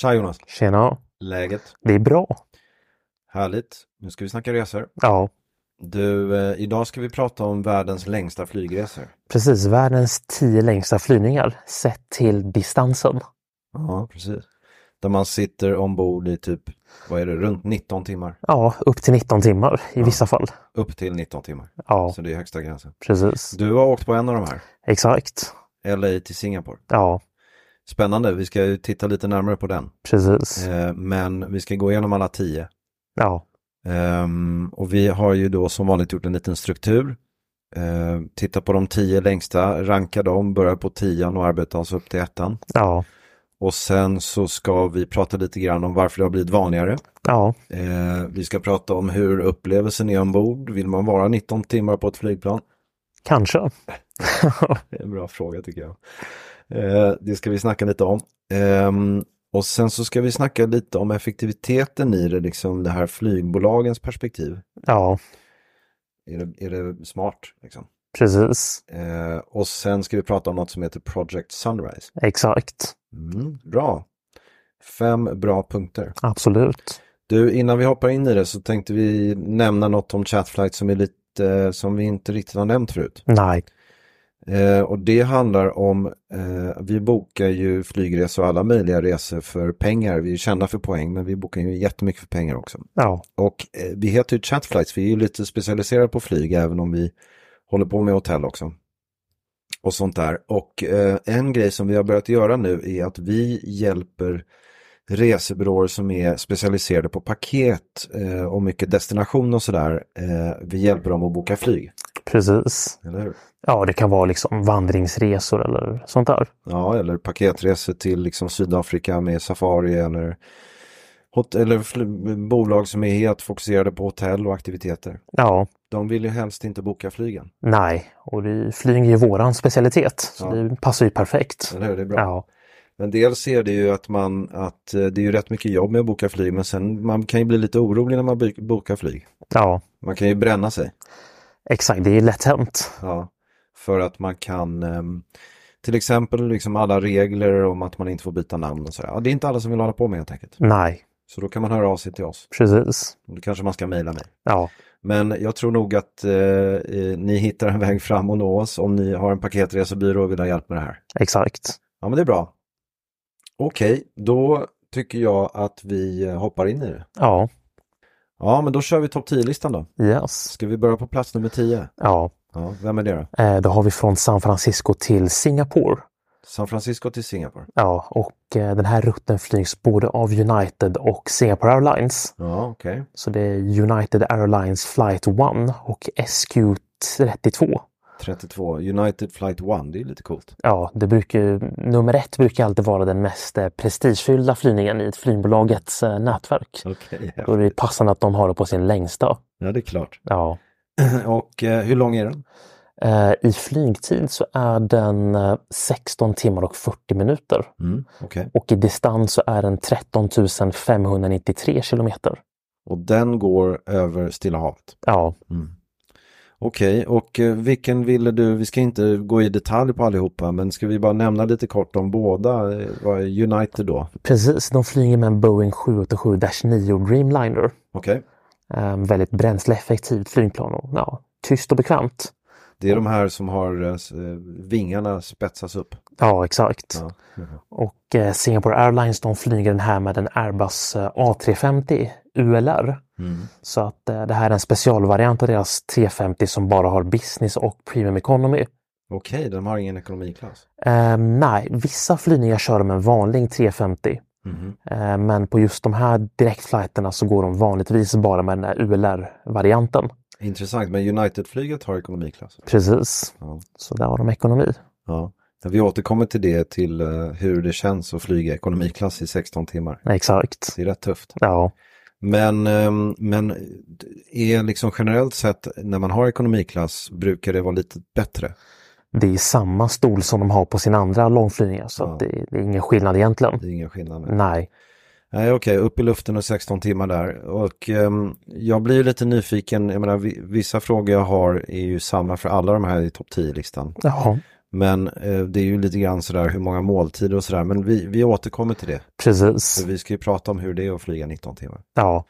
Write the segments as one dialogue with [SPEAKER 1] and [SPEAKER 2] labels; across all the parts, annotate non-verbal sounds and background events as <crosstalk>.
[SPEAKER 1] Tja Jonas,
[SPEAKER 2] Tjena.
[SPEAKER 1] läget?
[SPEAKER 2] Det är bra.
[SPEAKER 1] Härligt. Nu ska vi snacka resor.
[SPEAKER 2] Ja,
[SPEAKER 1] Du, eh, idag ska vi prata om världens längsta flygresor.
[SPEAKER 2] precis. Världens tio längsta flygningar sett till distansen.
[SPEAKER 1] Ja, precis. Där man sitter ombord i typ, vad är det, runt 19 timmar.
[SPEAKER 2] Ja, upp till 19 timmar i vissa fall.
[SPEAKER 1] Upp till 19 timmar.
[SPEAKER 2] Ja,
[SPEAKER 1] Så det är högsta gränsen.
[SPEAKER 2] precis.
[SPEAKER 1] Du har åkt på en av de här,
[SPEAKER 2] Exakt.
[SPEAKER 1] LA till Singapore.
[SPEAKER 2] Ja,
[SPEAKER 1] Spännande, vi ska ju titta lite närmare på den.
[SPEAKER 2] precis.
[SPEAKER 1] Eh, Men vi ska gå igenom alla tio.
[SPEAKER 2] Ja,
[SPEAKER 1] Ehm, och vi har ju då som vanligt gjort en liten struktur. Ehm, titta på de tio längsta, ranka dem, börja på tian och arbeta oss upp till ettan.
[SPEAKER 2] ja,
[SPEAKER 1] Och sen så ska vi prata lite grann om varför det har blivit vanligare.
[SPEAKER 2] ja,
[SPEAKER 1] Ehm, vi ska prata om hur upplevelsen är ombord. Vill man vara 19 timmar på ett flygplan?
[SPEAKER 2] kanske. <laughs>
[SPEAKER 1] Det är en bra fråga tycker jag. Ehm, det ska vi snacka lite om. Ehm, och sen så ska vi snacka lite om effektiviteten i det, liksom det här flygbolagens perspektiv.
[SPEAKER 2] Ja,
[SPEAKER 1] Är det, är det smart? Liksom?
[SPEAKER 2] precis.
[SPEAKER 1] Eh, och sen ska vi prata om något som heter Project Sunrise. Mm,
[SPEAKER 2] Exakt.
[SPEAKER 1] Bra. Fem bra punkter.
[SPEAKER 2] Absolut.
[SPEAKER 1] Du, innan vi hoppar in i det så tänkte vi nämna något om Chatflight som är lite eh, som vi inte riktigt har nämnt förut.
[SPEAKER 2] Nej,
[SPEAKER 1] Eh, och det handlar om, eh, vi bokar ju flygresor och alla möjliga resor för pengar. Vi är kända för poäng, men vi bokar ju jättemycket för pengar också.
[SPEAKER 2] ja,
[SPEAKER 1] Och eh, vi heter ju Chatflights, vi är ju lite specialiserade på flyg även om vi håller på med hotell också. Och sånt där. Och eh, en grej som vi har börjat göra nu är att vi hjälper resebyråer som är specialiserade på paket eh, och mycket destination och sådär. Eh, vi hjälper dem att boka flyg,
[SPEAKER 2] precis.
[SPEAKER 1] eller hur?
[SPEAKER 2] Ja, det kan vara liksom vandringsresor eller sånt där.
[SPEAKER 1] Ja, eller paketresor till liksom Sydafrika med safari eller, hot- eller fl- bolag som är helt fokuserade på hotell och aktiviteter.
[SPEAKER 2] Ja,
[SPEAKER 1] De vill ju helst inte boka flygen.
[SPEAKER 2] nej. Och det, flyg är ju våran specialitet, så
[SPEAKER 1] Ja.
[SPEAKER 2] det passar ju perfekt.
[SPEAKER 1] Eller hur? Det är bra.
[SPEAKER 2] Ja,
[SPEAKER 1] Men dels är det ju att man, att eh, det är ju rätt mycket jobb med att boka flyg, men sen man kan ju bli lite orolig när man by- bokar flyg.
[SPEAKER 2] ja,
[SPEAKER 1] Man kan ju bränna sig.
[SPEAKER 2] exakt. Det är lätt hänt.
[SPEAKER 1] Ja. För att man kan, ehm, till exempel liksom alla regler om att man inte får byta namn och sådär. Ja, det är inte alla som vill hålla på med helt enkelt.
[SPEAKER 2] Nej,
[SPEAKER 1] Så då kan man höra av sig till oss.
[SPEAKER 2] precis.
[SPEAKER 1] Då kanske man ska mejla mig.
[SPEAKER 2] Ja,
[SPEAKER 1] Men jag tror nog att eh, eh, ni hittar en väg fram och nå oss om ni har en paketresebyrå och vill ha hjälp med det här.
[SPEAKER 2] exakt.
[SPEAKER 1] Ja, men det är bra. Okej, då tycker jag att vi eh, hoppar in i det.
[SPEAKER 2] Ja,
[SPEAKER 1] Ja, men då kör vi topp 10-listan då.
[SPEAKER 2] yes.
[SPEAKER 1] Ska vi börja på plats nummer 10?
[SPEAKER 2] Ja,
[SPEAKER 1] Ja, vem är det då?
[SPEAKER 2] eh, då har vi från San Francisco till Singapore.
[SPEAKER 1] San Francisco till Singapore.
[SPEAKER 2] Ja, och eh, den här rutten flygs både av United och Singapore Airlines.
[SPEAKER 1] Ja, okej.
[SPEAKER 2] Så det är United Airlines Flight 1 och SQ32.
[SPEAKER 1] 32. United Flight 1, det är lite coolt. <laughs>
[SPEAKER 2] Ja, det brukar ju, nummer ett brukar alltid vara den mest eh, prestigefyllda flygningen i ett flygbolagets eh, nätverk.
[SPEAKER 1] Okej,
[SPEAKER 2] Då är det
[SPEAKER 1] <clears throat>
[SPEAKER 2] passande att de har det på sin längsta.
[SPEAKER 1] ja det är klart.
[SPEAKER 2] Ja,
[SPEAKER 1] Och eh, hur lång är den?
[SPEAKER 2] Eh, I flygtid så är den eh, 16 timmar och 40 minuter
[SPEAKER 1] Mm, okej.
[SPEAKER 2] och i distans så är den 13 593 kilometer.
[SPEAKER 1] Och den går över Stilla havet.
[SPEAKER 2] Ja,
[SPEAKER 1] Okej, och eh, vilken ville du? Vi ska inte gå i detalj på allihopa, men ska vi bara nämna lite kort om båda? Eh, Vad är United då?
[SPEAKER 2] precis. De flyger med en Boeing 787-9 Dreamliner.
[SPEAKER 1] Okej,
[SPEAKER 2] Eh, väldigt bränsleeffektivt flygplan och ja, tyst och bekvämt.
[SPEAKER 1] det är de här som har eh, s- eh, vingarna spetsas upp.
[SPEAKER 2] Ja, exakt.
[SPEAKER 1] Ja.
[SPEAKER 2] Och eh, Singapore Airlines de flyger den här med en Airbus eh, A350 ULR. Så att eh, det här är en specialvariant av deras 350 som bara har business och premium economy.
[SPEAKER 1] Okej, de har ingen ekonomiklass.
[SPEAKER 2] Eh, nej, vissa flygningar kör de en vanlig 350.
[SPEAKER 1] Mhm.
[SPEAKER 2] Eh, men på just de här direktflighterna så går de vanligtvis bara med den här ULR-varianten.
[SPEAKER 1] Intressant, men United-flyget har ekonomiklass.
[SPEAKER 2] Precis.
[SPEAKER 1] Ja.
[SPEAKER 2] Så där har de ekonomi.
[SPEAKER 1] Ja. Vi återkommer till det, till eh, hur det känns att flyga ekonomiklass i 16 timmar.
[SPEAKER 2] Exakt.
[SPEAKER 1] Det är rätt tufft.
[SPEAKER 2] Ja.
[SPEAKER 1] Men, ehm, men är liksom generellt sett när man har ekonomiklass brukar det vara lite bättre?
[SPEAKER 2] Det är samma stol som de har på sina andra långflygningar så
[SPEAKER 1] Ja.
[SPEAKER 2] att det, det är ingen skillnad egentligen.
[SPEAKER 1] Det är ingen skillnad. med.
[SPEAKER 2] Nej.
[SPEAKER 1] Nej, okej, upp i luften och 16 timmar där. Och ehm, jag blir ju lite nyfiken, jag menar vi- vissa frågor jag har är ju samma för alla de här i topp 10-listan.
[SPEAKER 2] Ja,
[SPEAKER 1] Men eh, det är ju lite grann sådär hur många måltider och sådär, men vi, vi återkommer till det.
[SPEAKER 2] precis.
[SPEAKER 1] För vi ska ju prata om hur det är att flyga 19 timmar.
[SPEAKER 2] Ja,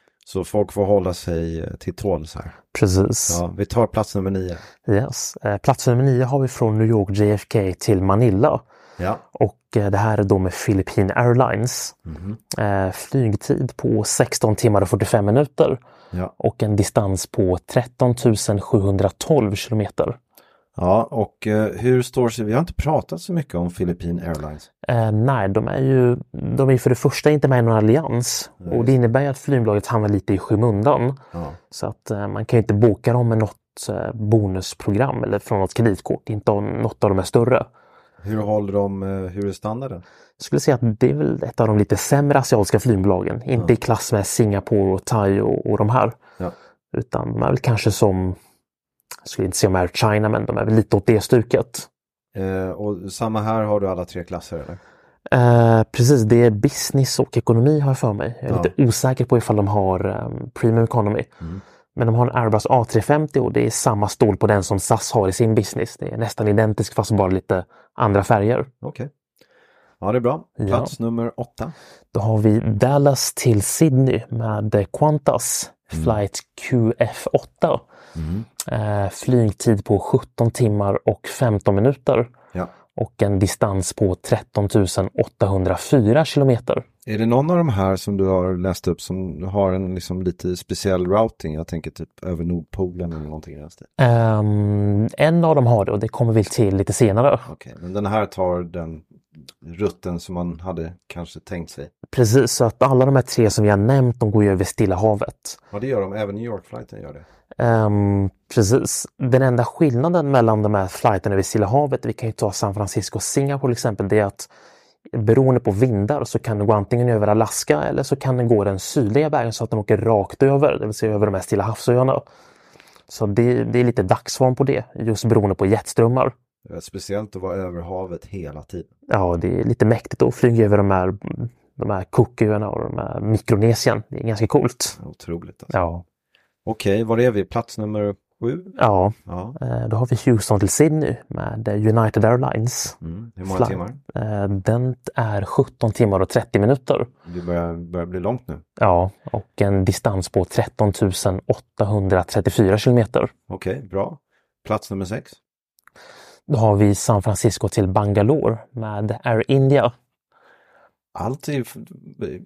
[SPEAKER 1] Så
[SPEAKER 2] så
[SPEAKER 1] folk får hålla sig eh, till tåls här.
[SPEAKER 2] precis.
[SPEAKER 1] Ja, vi tar plats nummer nio.
[SPEAKER 2] Yes. Eh, Plats nummer nio har vi från New York JFK till Manila.
[SPEAKER 1] Ja,
[SPEAKER 2] Och eh, det här är då med Philippine Airlines. Eh, Flygtid på 16 timmar och 45 minuter
[SPEAKER 1] ja.
[SPEAKER 2] och en distans på 13 712 kilometer.
[SPEAKER 1] Ja, och eh, hur står sig, vi har inte pratat så mycket om Philippine Airlines.
[SPEAKER 2] Eh, nej, de är ju de är ju för det första inte med i någon allians och det innebär ju att flygbolaget hamnar lite i skymundan.
[SPEAKER 1] Ja.
[SPEAKER 2] Så att eh, man kan ju inte boka dem med något eh, bonusprogram eller från något kreditkort, inte om något av de är större.
[SPEAKER 1] Hur håller de, eh, hur är standarden?
[SPEAKER 2] Jag skulle säga att det är väl ett av de lite sämre asiatiska flygbolagen. Inte i klass med Singapore och Thai och, och de här.
[SPEAKER 1] Ja.
[SPEAKER 2] Utan de är väl kanske som, jag skulle inte säga om Air China, men de är väl lite åt det stuket.
[SPEAKER 1] Eh, och samma här har du alla tre klasser eller?
[SPEAKER 2] Eh, precis, det är business och ekonomi har jag för mig. Jag är
[SPEAKER 1] Ja.
[SPEAKER 2] lite osäker på ifall de har um, premium economy. Men de har en Airbus A350 och det är samma stol på den som SAS har i sin business. Det är nästan identisk fast bara lite andra färger.
[SPEAKER 1] Okej. Ja, det är bra.
[SPEAKER 2] Ja.
[SPEAKER 1] Plats nummer åtta.
[SPEAKER 2] Då har vi Dallas till Sydney med Qantas flight QF8. Eh, flygtid på 17 timmar och 15 minuter
[SPEAKER 1] Ja.
[SPEAKER 2] och en distans på 13 804 kilometer.
[SPEAKER 1] Är det någon av de här som du har läst upp som har en liksom lite speciell routing? Jag tänker typ över Nordpolen eller någonting i den stilen.
[SPEAKER 2] Ehm, en av dem har det och det kommer vi till lite senare.
[SPEAKER 1] Okej, men den här tar den rutten som man hade kanske tänkt sig.
[SPEAKER 2] Precis, så att alla de här tre som vi har nämnt de går ju över Stilla havet.
[SPEAKER 1] Ja, det gör de. Även New York-flighten gör det.
[SPEAKER 2] Ehm, precis. Den enda skillnaden mellan de här flighterna över Stilla havet, vi kan ju ta San Francisco och Singapore till exempel, det är att beroende på vindar så kan den gå antingen över Alaska eller så kan den gå den sydliga vägen så att den åker rakt över, det vill säga över de här Stilla havsöarna. Så det, det är lite dagsform på det, just beroende på jetströmmar.
[SPEAKER 1] Det är Speciellt att vara över havet hela tiden.
[SPEAKER 2] Ja, det är lite mäktigt att flyga över de här, de här Cooköarna och de här Mikronesien. Det är ganska coolt.
[SPEAKER 1] Otroligt. Alltså.
[SPEAKER 2] Ja.
[SPEAKER 1] Okej, var är vi? Plats nummer sju?
[SPEAKER 2] Ja,
[SPEAKER 1] Ja.
[SPEAKER 2] eh, då har vi Houston till Sydney med eh, United Airlines.
[SPEAKER 1] Mm. Hur många
[SPEAKER 2] Flight.
[SPEAKER 1] timmar?
[SPEAKER 2] Eh, Den är 17 timmar och 30 minuter.
[SPEAKER 1] Det börjar, börjar bli långt nu.
[SPEAKER 2] Ja, och en distans på 13 834 kilometer.
[SPEAKER 1] Okej, bra. Plats nummer sex.
[SPEAKER 2] Då har vi San Francisco till Bangalore med Air India.
[SPEAKER 1] Allt är,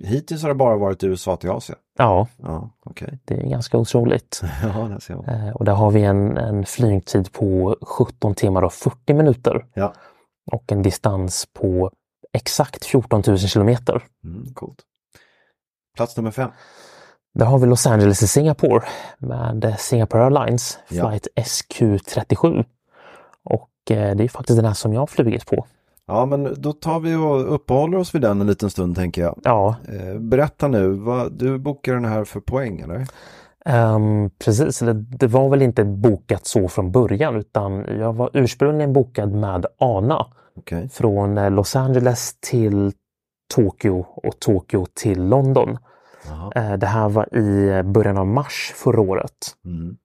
[SPEAKER 1] hittills har det bara varit USA till Asien.
[SPEAKER 2] Ja,
[SPEAKER 1] Ja, okej. <laughs>
[SPEAKER 2] det är ganska otroligt.
[SPEAKER 1] ja, där ser man.
[SPEAKER 2] Eh, Och där har vi en, en flygtid på 17 timmar och 40 minuter.
[SPEAKER 1] Ja,
[SPEAKER 2] och en distans på exakt 14 000 kilometer.
[SPEAKER 1] mm, coolt. Plats nummer fem.
[SPEAKER 2] Där har vi Los Angeles till Singapore med Singapore Airlines
[SPEAKER 1] Ja.
[SPEAKER 2] flight SQ37. Och eh, det är faktiskt den här som jag har flugit på.
[SPEAKER 1] Ja, men då tar vi och uppehåller oss vid den en liten stund tänker jag.
[SPEAKER 2] Ja,
[SPEAKER 1] Eh, Berätta nu, vad, du bokar den här för poäng eller?
[SPEAKER 2] Ehm, precis, eller det var väl inte bokat så från början utan jag var ursprungligen bokad med ANA
[SPEAKER 1] Okej.
[SPEAKER 2] från eh, Los Angeles till Tokyo och Tokyo till London.
[SPEAKER 1] Jaha.
[SPEAKER 2] Eh, Det här var i eh, början av mars förra året.
[SPEAKER 1] Mm.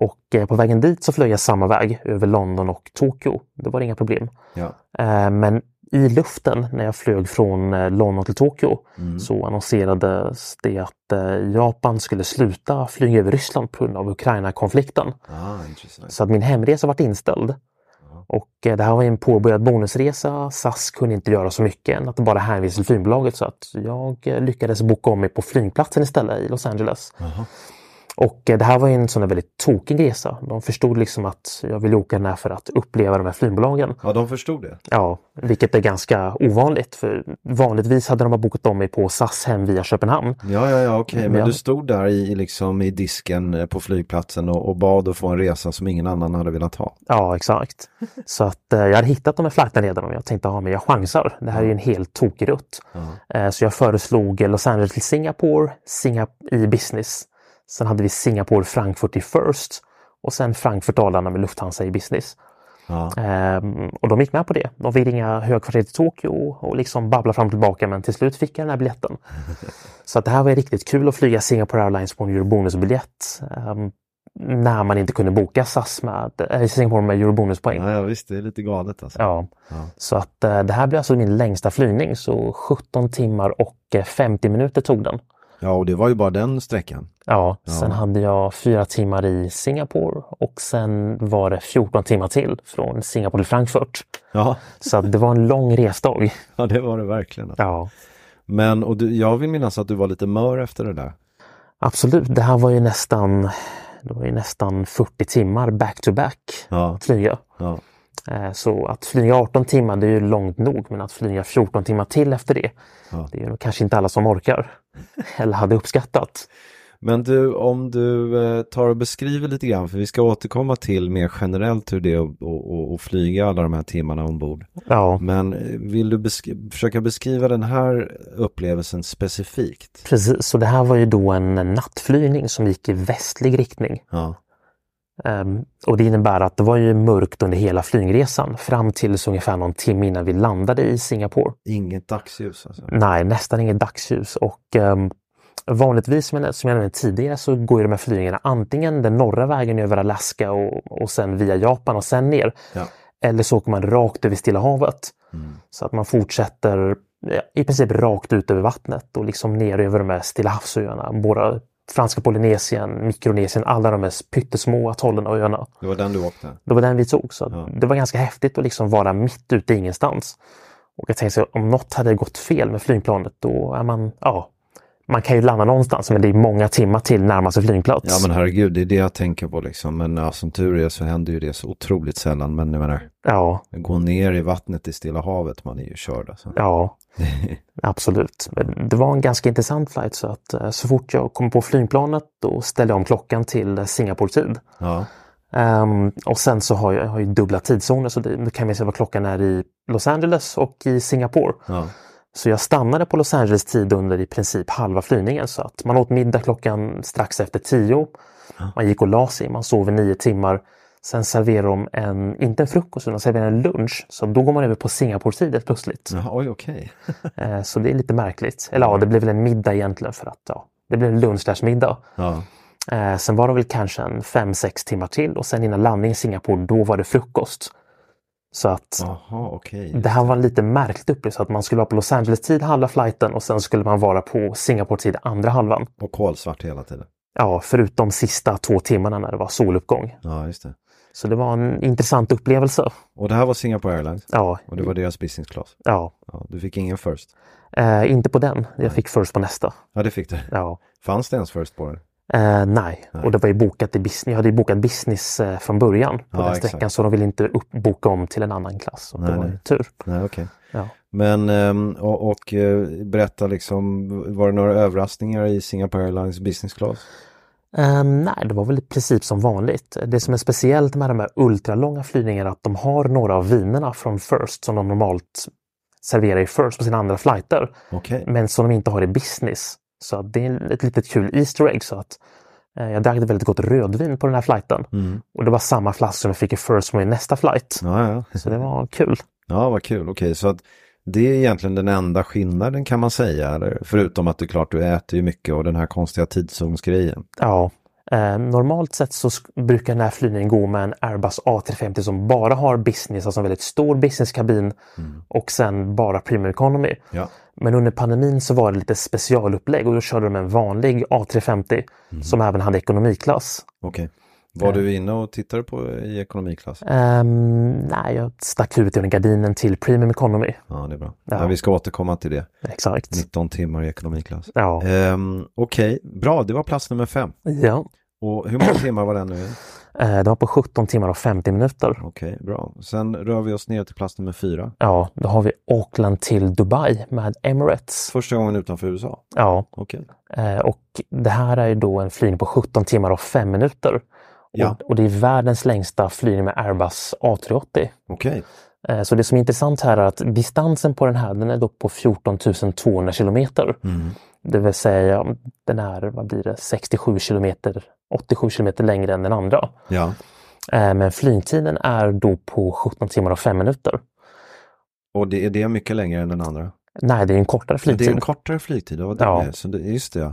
[SPEAKER 2] Och eh, på vägen dit så flög jag samma väg över London och Tokyo. Det var inga problem.
[SPEAKER 1] Ja.
[SPEAKER 2] Eh, Men i luften när jag flög från eh, London till Tokyo
[SPEAKER 1] Mm.
[SPEAKER 2] så annonserades det att eh, Japan skulle sluta flyga över Ryssland på grund av Ukraina-konflikten.
[SPEAKER 1] Ah, intressant.
[SPEAKER 2] Så att min hemresa vart inställd. Och eh, det här var ju en påbörjad bonusresa. SAS kunde inte göra så mycket än att bara hänvisa till flygbolaget så att jag eh, lyckades boka om mig på flygplatsen istället i Los Angeles. Och eh, det här var ju en sån där väldigt tokig resa. De förstod liksom att jag ville åka den här för att uppleva de här flygbolagen.
[SPEAKER 1] Ja, de förstod det.
[SPEAKER 2] Ja, vilket är ganska ovanligt för vanligtvis hade de bara bokat om mig på SAS hem via Köpenhamn.
[SPEAKER 1] Ja, ja, ja, okej. Men
[SPEAKER 2] Ja.
[SPEAKER 1] du stod där i, liksom, i disken eh, på flygplatsen och, och bad att få en resa som ingen annan hade velat ha.
[SPEAKER 2] Ja, exakt. Så att eh, jag hade hittat de här flighterna redan och jag tänkte, ja men jag chansar. Det här är ju en helt tokig rutt. Eh, så jag föreslog eh, Los Angeles till Singapore, Singap- i business. Sen hade vi Singapore, Frankfurt i First och sen Frankfurt, Arlanda med Lufthansa i business.
[SPEAKER 1] Ja.
[SPEAKER 2] Ehm, och de gick med på det. De fick ringa högkvarteret i Tokyo och liksom babbla fram och tillbaka men till slut fick jag den
[SPEAKER 1] <laughs>
[SPEAKER 2] här biljetten. Så att det här var ju riktigt kul att flyga Singapore Airlines på en eurobonusbiljett. ehm, när man inte kunde boka SAS med, äh, Singapore med eurobonuspoäng.
[SPEAKER 1] Ja, ja, visst, det är lite galet alltså.
[SPEAKER 2] Ja. Så att eh, det här blev alltså min längsta flygning så 17 timmar och eh, 50 minuter tog den.
[SPEAKER 1] Ja, och det var ju bara den sträckan.
[SPEAKER 2] Ja, sen hade jag fyra timmar i Singapore och sen var det 14 timmar till från Singapore till Frankfurt.
[SPEAKER 1] <laughs> Ja,
[SPEAKER 2] Så att det var en lång resdag.
[SPEAKER 1] ja det var det verkligen. alltså.
[SPEAKER 2] <laughs> Ja,
[SPEAKER 1] Men, och du, jag vill minnas att du var lite mör efter det där.
[SPEAKER 2] absolut. Det här var ju nästan, det var ju nästan 40 timmar back to back
[SPEAKER 1] Ja,
[SPEAKER 2] att flyga.
[SPEAKER 1] ja.
[SPEAKER 2] Eh, Så att flyga 18 timmar det är ju långt nog men att flyga 14 timmar till efter det
[SPEAKER 1] Ja.
[SPEAKER 2] det är ju kanske inte alla som orkar <laughs> eller hade uppskattat.
[SPEAKER 1] Men du, om du eh, tar och beskriver lite grann, för vi ska återkomma till mer generellt hur det är att och, och, och flyga alla de här timmarna ombord.
[SPEAKER 2] Ja,
[SPEAKER 1] Men eh, vill du besk- försöka beskriva den här upplevelsen specifikt?
[SPEAKER 2] precis. Så det här var ju då en nattflygning som gick i västlig riktning.
[SPEAKER 1] Ja,
[SPEAKER 2] Ehm, och det innebär att det var ju mörkt under hela flygresan fram till ungefär någon timme innan vi landade i Singapore.
[SPEAKER 1] inget dagsljus alltså.
[SPEAKER 2] Nej, nästan inget dagsljus. Och ehm, vanligtvis, som jag, som jag nämnde tidigare, så går ju de här flygningarna antingen den norra vägen över Alaska och, och sen via Japan och sen ner.
[SPEAKER 1] Ja.
[SPEAKER 2] Eller så åker man rakt över Stilla havet. Så att man fortsätter ja, i princip rakt ut över vattnet och liksom ner över de här Stilla havsöarna. Både franska Polynesien, Mikronesien, alla de här pyttesmå atollerna och öarna.
[SPEAKER 1] Det var den du åkte?
[SPEAKER 2] Det var den vi tog. Så att Det var ganska häftigt att liksom vara mitt ute i ingenstans. Och jag tänkte så, om något hade gått fel med flygplanet då är man, ja, man kan ju landa någonstans men det är många timmar till närmaste flygplats.
[SPEAKER 1] Ja men herregud, det är det jag tänker på liksom. Men ja, som tur är så händer ju det så otroligt sällan. Men jag menar,
[SPEAKER 2] ja,
[SPEAKER 1] gå ner i vattnet i Stilla havet, man är ju körd alltså. <laughs>
[SPEAKER 2] ja, absolut. Men det var en ganska intressant flight så att eh, så fort jag kom på flygplanet då ställde jag om klockan till eh, Singapore-tid.
[SPEAKER 1] Ja,
[SPEAKER 2] Ehm, och sen så har jag, jag har ju dubbla tidszoner så det, då kan vi se vad klockan är i Los Angeles och i Singapore.
[SPEAKER 1] ja,
[SPEAKER 2] Så jag stannade på Los Angeles tid under i princip halva flygningen så att man åt middag klockan strax efter tio. Man gick och la sig, man sov i nio timmar. Sen serverade de en, inte en frukost, utan serverade en lunch. Så då går man över på Singapore-tid helt plötsligt.
[SPEAKER 1] Jaha, oj okej.
[SPEAKER 2] Eh, Så det är lite märkligt. Eller ja, det blev väl en middag egentligen för att ja, det blev en lunch slash middag.
[SPEAKER 1] Ja,
[SPEAKER 2] Eh, Sen var det väl kanske en fem sex timmar till och sen innan landning i Singapore, då var det frukost. Så att
[SPEAKER 1] jaha okej.
[SPEAKER 2] det här var en lite märkligt upplevelse att man skulle vara på Los Angeles-tid halva flighten och sen skulle man vara på Singapore-tid andra halvan.
[SPEAKER 1] Och kolsvart hela tiden.
[SPEAKER 2] Ja, förutom sista två timmarna när det var soluppgång.
[SPEAKER 1] Ja, just det.
[SPEAKER 2] Så det var en intressant upplevelse.
[SPEAKER 1] Och det här var Singapore Airlines.
[SPEAKER 2] Ja,
[SPEAKER 1] Och det var deras business class.
[SPEAKER 2] ja.
[SPEAKER 1] Ja, du fick ingen first.
[SPEAKER 2] Eh, inte på den. Jag fick först på nästa.
[SPEAKER 1] Ja, det fick du.
[SPEAKER 2] Ja.
[SPEAKER 1] Fanns det ens first på den?
[SPEAKER 2] Eh, nej, och det var ju bokat i business. Jag hade ju bokat business eh, från början på
[SPEAKER 1] Ja,
[SPEAKER 2] den
[SPEAKER 1] exakt.
[SPEAKER 2] sträckan så de ville inte upp, boka om till en annan klass. Och det
[SPEAKER 1] Nej,
[SPEAKER 2] var ju
[SPEAKER 1] nej.
[SPEAKER 2] tur.
[SPEAKER 1] Nej, okej.
[SPEAKER 2] Ja.
[SPEAKER 1] Men, ehm, och, och eh, berätta liksom, var det några överraskningar i Singapore Airlines business class?
[SPEAKER 2] Ehm, nej, det var väl i princip som vanligt. Det som är speciellt med de här ultralånga flygningarna är att de har några av vinerna från First som de normalt serverar i First på sina andra flighter,
[SPEAKER 1] Okej.
[SPEAKER 2] men som de inte har i business. Så att det är ett litet kul Easter egg. Så att Eh, Jag drack ett väldigt gott rödvin på den här flighten.
[SPEAKER 1] Mm.
[SPEAKER 2] Och det var samma flaska som jag fick i First Wing nästa flight.
[SPEAKER 1] Ja, ja.
[SPEAKER 2] Så det var kul.
[SPEAKER 1] ja, vad kul. Okej, så att det är egentligen den enda skillnaden kan man säga. eller? Förutom att det är klart du äter ju mycket och den här konstiga tidszonsgrejen.
[SPEAKER 2] Ja. Eh, normalt sett så sk- brukar den här flygningen gå med en Airbus A350 som bara har business, alltså en väldigt stor businesskabin och sen bara premium economy.
[SPEAKER 1] Ja.
[SPEAKER 2] Men under pandemin så var det lite specialupplägg och då körde de en vanlig A350 som även hade ekonomiklass.
[SPEAKER 1] Okej. Var du inne och tittade på eh, i ekonomiklass?
[SPEAKER 2] Ehm, nej, jag stack huvudet genom gardinen till premium economy.
[SPEAKER 1] Ja, det är bra.
[SPEAKER 2] Ja.
[SPEAKER 1] Ja, vi ska återkomma till det.
[SPEAKER 2] Exakt.
[SPEAKER 1] 19 timmar i ekonomiklass.
[SPEAKER 2] Ja.
[SPEAKER 1] Ehm, Okej, bra. Det var plats nummer fem.
[SPEAKER 2] ja.
[SPEAKER 1] Och hur många timmar var den nu?
[SPEAKER 2] Eh, det var på 17 timmar och 50 minuter.
[SPEAKER 1] Okej, bra. Sen rör vi oss ner till plats nummer fyra.
[SPEAKER 2] Ja, då har vi Auckland till Dubai med Emirates.
[SPEAKER 1] Första gången utanför USA.
[SPEAKER 2] Ja,
[SPEAKER 1] Okej.
[SPEAKER 2] eh, och det här är ju då en flygning på 17 timmar och 5 minuter.
[SPEAKER 1] Ja.
[SPEAKER 2] Och, och det är världens längsta flygning med Airbus A380.
[SPEAKER 1] Okej.
[SPEAKER 2] Eh, Så det som är intressant här är att distansen på den här den är då på 14 200 kilometer.
[SPEAKER 1] Mm.
[SPEAKER 2] Det vill säga den är vad blir det, 67 kilometer, 87 kilometer längre än den andra.
[SPEAKER 1] Ja.
[SPEAKER 2] Eh, Men flygtiden är då på 17 timmar och 5 minuter.
[SPEAKER 1] Och det, är det mycket längre än den andra?
[SPEAKER 2] Nej, det är en kortare
[SPEAKER 1] Men Det
[SPEAKER 2] flygtid.
[SPEAKER 1] är en kortare flygtid. Ja.
[SPEAKER 2] Ja.
[SPEAKER 1] Det, är. så det, just det. ja.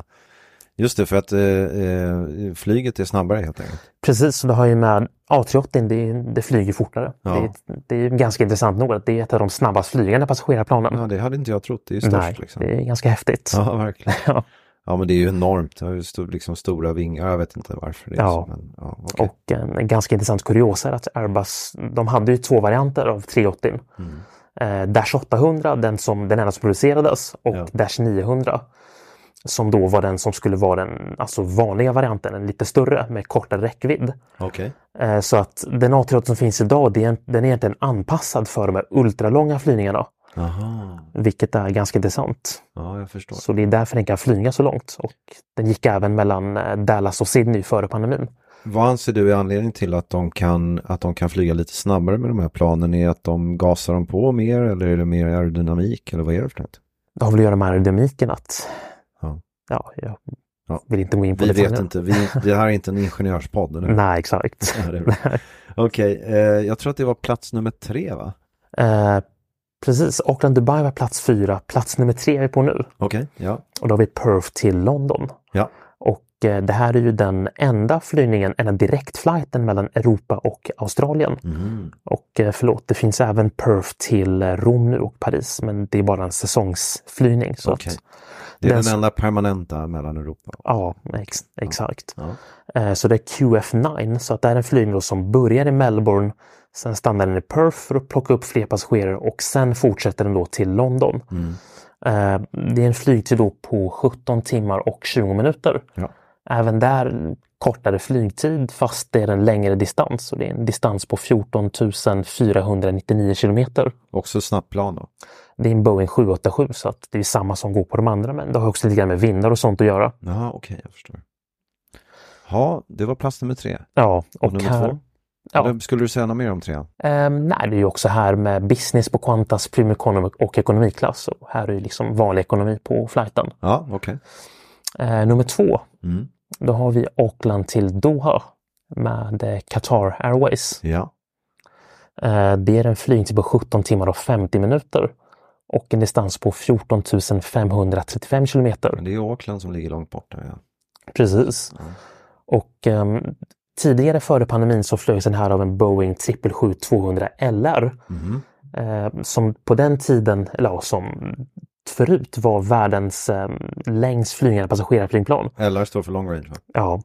[SPEAKER 1] Just det, för att eh, eh, flyget är snabbare helt enkelt.
[SPEAKER 2] Precis, så det har ju med A380, det, är- det flyger fortare.
[SPEAKER 1] Ja.
[SPEAKER 2] Det, är- det är ju ganska intressant nog att det är ett av de snabbast flygande passagerarplanen.
[SPEAKER 1] Ja, det hade inte jag trott. Det är ju störst
[SPEAKER 2] Nej,
[SPEAKER 1] liksom.
[SPEAKER 2] det är ganska häftigt.
[SPEAKER 1] Ja, verkligen.
[SPEAKER 2] <laughs> Ja.
[SPEAKER 1] Ja, men det är ju enormt. Det har ju sto- liksom stora vingar. Jag vet inte varför det är
[SPEAKER 2] Ja.
[SPEAKER 1] så. Men, ja, okej.
[SPEAKER 2] Och en ganska intressant kuriosa är att Airbus, de hade ju två varianter av 380.
[SPEAKER 1] Mm.
[SPEAKER 2] Eh, Dash 800, den, som, den enda som producerades, och
[SPEAKER 1] Ja.
[SPEAKER 2] Dash 900. Som då var den som skulle vara den alltså vanliga varianten, en lite större med kortare räckvidd.
[SPEAKER 1] Okej.
[SPEAKER 2] Eh, Så att den A380 som finns idag, det är en- den är egentligen anpassad för de här ultralånga flygningarna.
[SPEAKER 1] Jaha,
[SPEAKER 2] Vilket är ganska intressant.
[SPEAKER 1] ja jag förstår.
[SPEAKER 2] Så det är därför den kan flyga så långt. Och den gick även mellan eh, Dallas och Sydney före pandemin.
[SPEAKER 1] Vad anser du är anledningen till att de, kan, att de kan flyga lite snabbare med de här planen? Är att de gasar dem på mer eller är det mer aerodynamik eller vad är det för något?
[SPEAKER 2] Det har väl att göra med aerodynamiken att...
[SPEAKER 1] Ja.
[SPEAKER 2] Ja, jag
[SPEAKER 1] Ja.
[SPEAKER 2] vill inte gå in på
[SPEAKER 1] Vi
[SPEAKER 2] det.
[SPEAKER 1] vet inte, vi, det här är inte en ingenjörspodd. eller?
[SPEAKER 2] Nej, exakt.
[SPEAKER 1] Ja, det är bra. Okej, eh, jag tror att det var plats nummer tre va?
[SPEAKER 2] eh, precis, Auckland Dubai var plats fyra. Plats nummer tre är vi på nu.
[SPEAKER 1] Okej, ja.
[SPEAKER 2] Och då har vi Perth till London.
[SPEAKER 1] Ja.
[SPEAKER 2] Och eh, det här är ju den enda flygningen, enda direktflighten mellan Europa och Australien.
[SPEAKER 1] Mm.
[SPEAKER 2] Och eh, förlåt, det finns även Perth till eh, Rom nu och Paris, men det är bara en säsongsflygning. Så
[SPEAKER 1] Okej.
[SPEAKER 2] att,
[SPEAKER 1] Det är
[SPEAKER 2] Den
[SPEAKER 1] den,
[SPEAKER 2] som-
[SPEAKER 1] enda permanenta mellan Europa.
[SPEAKER 2] ja, ex- exakt.
[SPEAKER 1] Ja.
[SPEAKER 2] Eh, Så det är QF9, så att det här är en flygning då som börjar i Melbourne, sen stannar den i Perth för att plocka upp fler passagerare och sen fortsätter den då till London.
[SPEAKER 1] Mm.
[SPEAKER 2] Eh, Det är en flygtid då på 17 timmar och 20 minuter.
[SPEAKER 1] Ja.
[SPEAKER 2] Även där kortare flygtid fast det är en längre distans och det är en distans på 14 499 kilometer.
[SPEAKER 1] Också snabbt plan då.
[SPEAKER 2] Det är en Boeing 787 så att det är samma som går på de andra men det har också lite grann med vindar och sånt att göra.
[SPEAKER 1] Ja, okej, jag förstår. Ja, det var plats nummer tre.
[SPEAKER 2] Ja, och,
[SPEAKER 1] Och, nummer
[SPEAKER 2] här...
[SPEAKER 1] två?
[SPEAKER 2] Ja.
[SPEAKER 1] Eller skulle du säga något mer om trean?
[SPEAKER 2] Ehm, nej, det är ju också här med business på Qantas, premium economy och ekonomiklass. Och här är ju liksom vanlig ekonomi på flighten.
[SPEAKER 1] Ja, okej.
[SPEAKER 2] Eh, nummer två,
[SPEAKER 1] Mm.
[SPEAKER 2] då har vi Auckland till Doha med eh, Qatar Airways.
[SPEAKER 1] Ja,
[SPEAKER 2] Eh, det är en flygning på 17 timmar och 50 minuter och en distans på 14 535 kilometer.
[SPEAKER 1] men det är Auckland som ligger långt borta. Ja.
[SPEAKER 2] Precis. Och ehm, tidigare före pandemin så flögs den här av en Boeing 777-200LR. Eh, som på den tiden, eller ja, som förut var världens eh, längst flygande passagerarflygplan.
[SPEAKER 1] LR står för long range va?
[SPEAKER 2] Ja.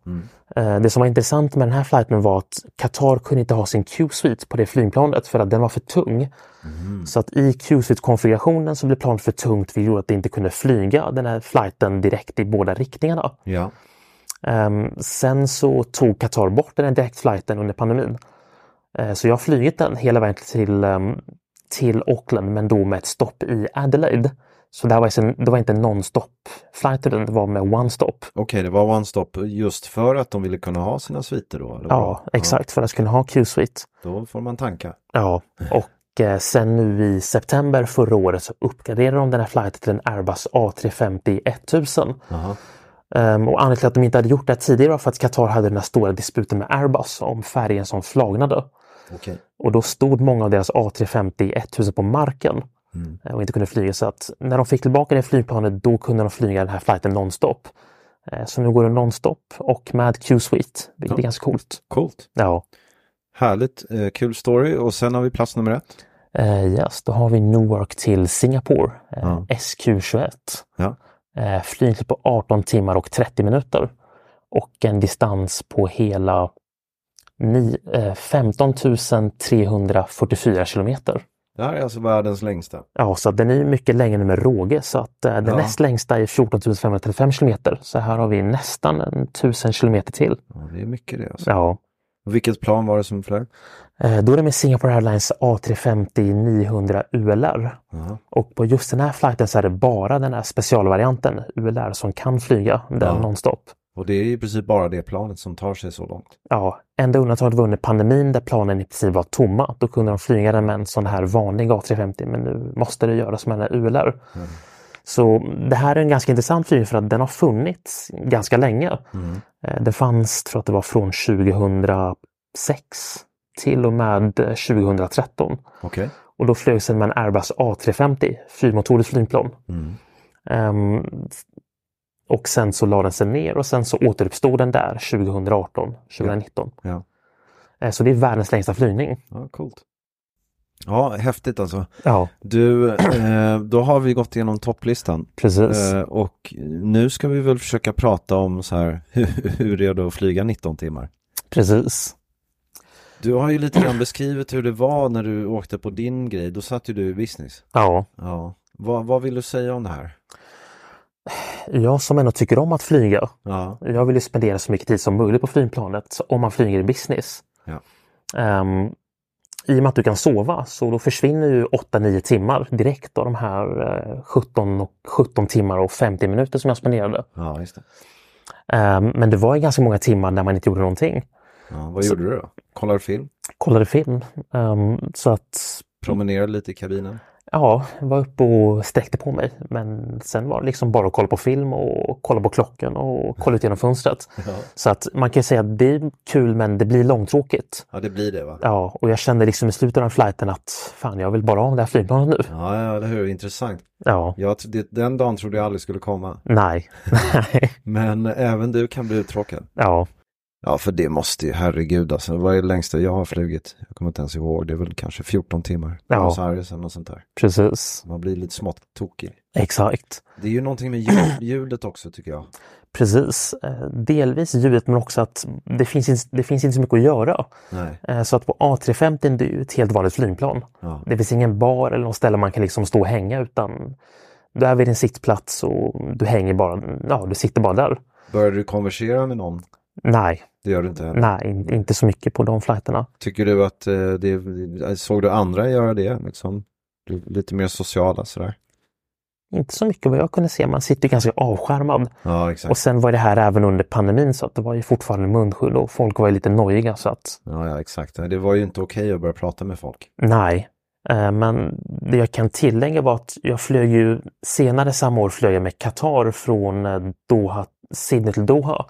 [SPEAKER 2] Eh, det som var intressant med den här flighten var att Qatar kunde inte ha sin Q-suite på det flygplanet för att den var för tung. Så att i Q-suite-konfigurationen så blev planet för tungt vilket gjorde att det inte kunde flyga den här flighten direkt i båda riktningarna.
[SPEAKER 1] Ja.
[SPEAKER 2] Ehm, sen så tog Qatar bort den här direktflighten under pandemin. Eh, så jag har flugit den hela vägen till, ehm, till Auckland men då med ett stopp i Adelaide. Så det, här var, alltså- det var inte en non-stop flight utan det var med one stop.
[SPEAKER 1] Okej, det var one stop just för att de ville kunna ha sina sviter då? Eller
[SPEAKER 2] Ja,
[SPEAKER 1] vad?
[SPEAKER 2] exakt för att kunna ha Q-suite.
[SPEAKER 1] Ja, då får man tanka.
[SPEAKER 2] Ja, och eh, sen nu i september förra året så uppgraderade de den här flighten till en Airbus A350 1000. Ehm, och anledningen till att de inte hade gjort det här tidigare var för att Qatar hade den här stora disputen med Airbus om färgen som flagnade.
[SPEAKER 1] Okej.
[SPEAKER 2] Och då stod många av deras A350 1000 på marken
[SPEAKER 1] Mm.
[SPEAKER 2] eh, och inte kunde flyga. Så att när de fick tillbaka det flygplanet då kunde de flyga den här flighten nonstop. Eh, Så nu går den nonstop och med Q-Suite, vilket
[SPEAKER 1] Ja.
[SPEAKER 2] är ganska coolt.
[SPEAKER 1] Coolt.
[SPEAKER 2] Ja.
[SPEAKER 1] Härligt, eh, kul story och sen har vi plats nummer ett.
[SPEAKER 2] Eh, yes, då har vi Newark till Singapore, eh,
[SPEAKER 1] Ja.
[SPEAKER 2] SQ21.
[SPEAKER 1] Ja.
[SPEAKER 2] Eh, flygtid på 18 timmar och 30 minuter. Och en distans på hela ni, eh, 15 344 kilometer.
[SPEAKER 1] Det här är alltså världens längsta.
[SPEAKER 2] Ja, så att den är ju mycket längre med råge så att eh, den
[SPEAKER 1] Ja.
[SPEAKER 2] näst längsta är 14 535 kilometer. Så här har vi nästan en 1000 kilometer till.
[SPEAKER 1] Ja, det är mycket det. Alltså.
[SPEAKER 2] Ja.
[SPEAKER 1] Vilket plan var det som flög?
[SPEAKER 2] Eh, Då är det med Singapore Airlines A350 900 ULR.
[SPEAKER 1] Ja.
[SPEAKER 2] Och på just den här flighten så är det bara den här specialvarianten ULR som kan flyga den
[SPEAKER 1] Ja.
[SPEAKER 2] nonstop.
[SPEAKER 1] Och det är ju i princip bara det planet som tar sig så långt.
[SPEAKER 2] Ja, enda undantaget var under pandemin där planen i princip var tomma. Då kunde de flyga den med en sån här vanlig A350 men nu måste det göras med en ULR. Så det här är en ganska intressant flygning för att den har funnits ganska länge. Eh, Det fanns, tror att det var från 2006 till och med eh, 2013.
[SPEAKER 1] Okej.
[SPEAKER 2] Och då flögs den med en Airbus A350, fyrmotorigt flygplan. Ehm, och sen så la den sig ner och sen så återuppstod den där 2018, 2019.
[SPEAKER 1] Ja.
[SPEAKER 2] Eh, Så det är världens längsta flygning.
[SPEAKER 1] Ja, coolt. Ja, häftigt alltså.
[SPEAKER 2] Ja,
[SPEAKER 1] Du, eh, då har vi gått igenom topplistan.
[SPEAKER 2] precis.
[SPEAKER 1] Eh, och nu ska vi väl försöka prata om så här, <laughs> hur, hur är det att flyga 19 timmar?
[SPEAKER 2] precis.
[SPEAKER 1] Du har ju lite grann beskrivit hur det var när du åkte på din grej. Då satt ju du i business.
[SPEAKER 2] Ja,
[SPEAKER 1] Ja. Vad, vad vill du säga om det här?
[SPEAKER 2] jag som ändå tycker om att flyga,
[SPEAKER 1] Ja.
[SPEAKER 2] jag vill ju spendera så mycket tid som möjligt på flygplanet så om man flyger i business.
[SPEAKER 1] Ja.
[SPEAKER 2] Ehm, I och med att du kan sova så då försvinner ju 8-9 timmar direkt av de här eh, 17, och 17 timmar och 50 minuter som jag spenderade.
[SPEAKER 1] Ja, just det.
[SPEAKER 2] Ehm, Men det var ju ganska många timmar när man inte gjorde någonting.
[SPEAKER 1] Ja, vad
[SPEAKER 2] Så-
[SPEAKER 1] gjorde du då? Kollade film?
[SPEAKER 2] Kollade film. Ehm, Så att
[SPEAKER 1] Promenerade lite i kabinen?
[SPEAKER 2] ja, var uppe och sträckte på mig. Men sen var det liksom bara att kolla på film och kolla på klockan och kolla ut genom fönstret. Så att man kan ju säga att det är kul men det blir långtråkigt.
[SPEAKER 1] Ja, det blir det va?
[SPEAKER 2] Ja, och jag kände liksom i slutet av den flighten att fan, jag vill bara ha det här flygplanet nu.
[SPEAKER 1] Ja, ja, eller hur? Intressant.
[SPEAKER 2] Ja,
[SPEAKER 1] Jag, tr- det, den dagen trodde jag aldrig skulle komma.
[SPEAKER 2] nej, <laughs> nej,
[SPEAKER 1] Men även du kan bli uttråkad.
[SPEAKER 2] ja,
[SPEAKER 1] Ja, för det måste ju, herregud alltså. Vad är det längsta jag har flugit? Jag kommer inte ens ihåg. Det är väl kanske 14 timmar.
[SPEAKER 2] Ja.
[SPEAKER 1] Buenos Aires eller något sånt där.
[SPEAKER 2] precis,
[SPEAKER 1] Man blir lite smått tokig.
[SPEAKER 2] exakt.
[SPEAKER 1] Det är ju någonting med ljud, <coughs> ljudet också tycker jag.
[SPEAKER 2] Precis, Eh, delvis ljudet men också att det finns, inte- det finns inte så mycket att göra.
[SPEAKER 1] Nej,
[SPEAKER 2] Eh, Så att på A350 det är ju ett helt vanligt flygplan.
[SPEAKER 1] ja.
[SPEAKER 2] Det finns ingen bar eller något ställe man kan liksom stå och hänga utan du är vid din sittplats och du hänger bara, ja du sitter bara där.
[SPEAKER 1] Börjar du konversera med någon?
[SPEAKER 2] Nej,
[SPEAKER 1] Det gör du inte heller.
[SPEAKER 2] nej, in- inte så mycket på de flighterna.
[SPEAKER 1] Tycker du att eh, det, såg du andra göra det? Liksom? Li- Lite mer sociala sådär?
[SPEAKER 2] Inte så mycket vad jag kunde se, man sitter ju ganska avskärmad.
[SPEAKER 1] Ja, exakt.
[SPEAKER 2] Och sen var det här även under pandemin så att det var ju fortfarande munskydd och folk var ju lite nojiga så att
[SPEAKER 1] Ja, ja, exakt. Det var ju inte okej att börja prata med folk.
[SPEAKER 2] nej. Eh, Men det jag kan tillägga var att jag flög ju senare samma år flög jag med Qatar från eh, Doha, Sydney till Doha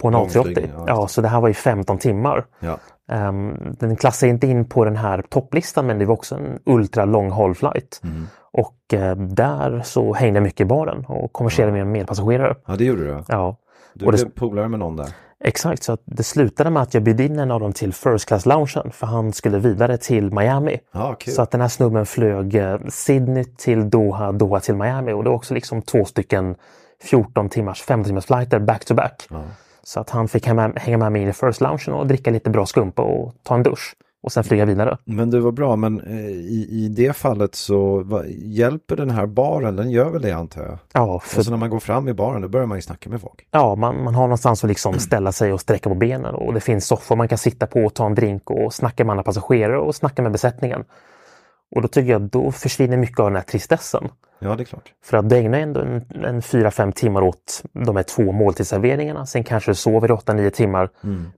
[SPEAKER 2] på en
[SPEAKER 1] Långflygning,
[SPEAKER 2] A380.
[SPEAKER 1] Mm. ja,
[SPEAKER 2] Ja,
[SPEAKER 1] just
[SPEAKER 2] så det här var ju 15 timmar.
[SPEAKER 1] Ja,
[SPEAKER 2] Ehm, den klassar inte in på den här topplistan men det var också en ultra long haul flight.
[SPEAKER 1] Mm.
[SPEAKER 2] Och eh, där så hängde jag mycket i baren och konverserade med medpassagerare.
[SPEAKER 1] ja det gjorde du.
[SPEAKER 2] Ja,
[SPEAKER 1] Du
[SPEAKER 2] Och det-
[SPEAKER 1] blev polare med någon där.
[SPEAKER 2] exakt. Så att det slutade med att jag bjöd in en av dem till first class-loungen för han skulle vidare till Miami.
[SPEAKER 1] Ja, kul.
[SPEAKER 2] Så att den här snubben flög eh, Sydney till Doha, Doha till Miami och det var också liksom två stycken 14 timmars, 15 timmars flighter back to back. Så att han fick hänga med, hänga med mig in i first loungen och dricka lite bra skumpa och ta en dusch och sen flyga vidare.
[SPEAKER 1] Men det var bra, men eh, i, i det fallet så va, hjälper den här baren, den gör väl det antar jag.
[SPEAKER 2] Ja,
[SPEAKER 1] Och
[SPEAKER 2] för,
[SPEAKER 1] så när man går fram i baren, då börjar man ju snacka med folk.
[SPEAKER 2] ja man, man har någonstans att liksom ställa sig och sträcka på benen och det finns soffor man kan sitta på och ta en drink och snacka med andra passagerare och snacka med besättningen. Och då tycker jag då försvinner mycket av den här tristessen.
[SPEAKER 1] Ja, det är klart.
[SPEAKER 2] För att du ägnar ändå en, en 4-5 timmar åt de här två måltidsserveringarna. Sen kanske du sover 8-9 timmar.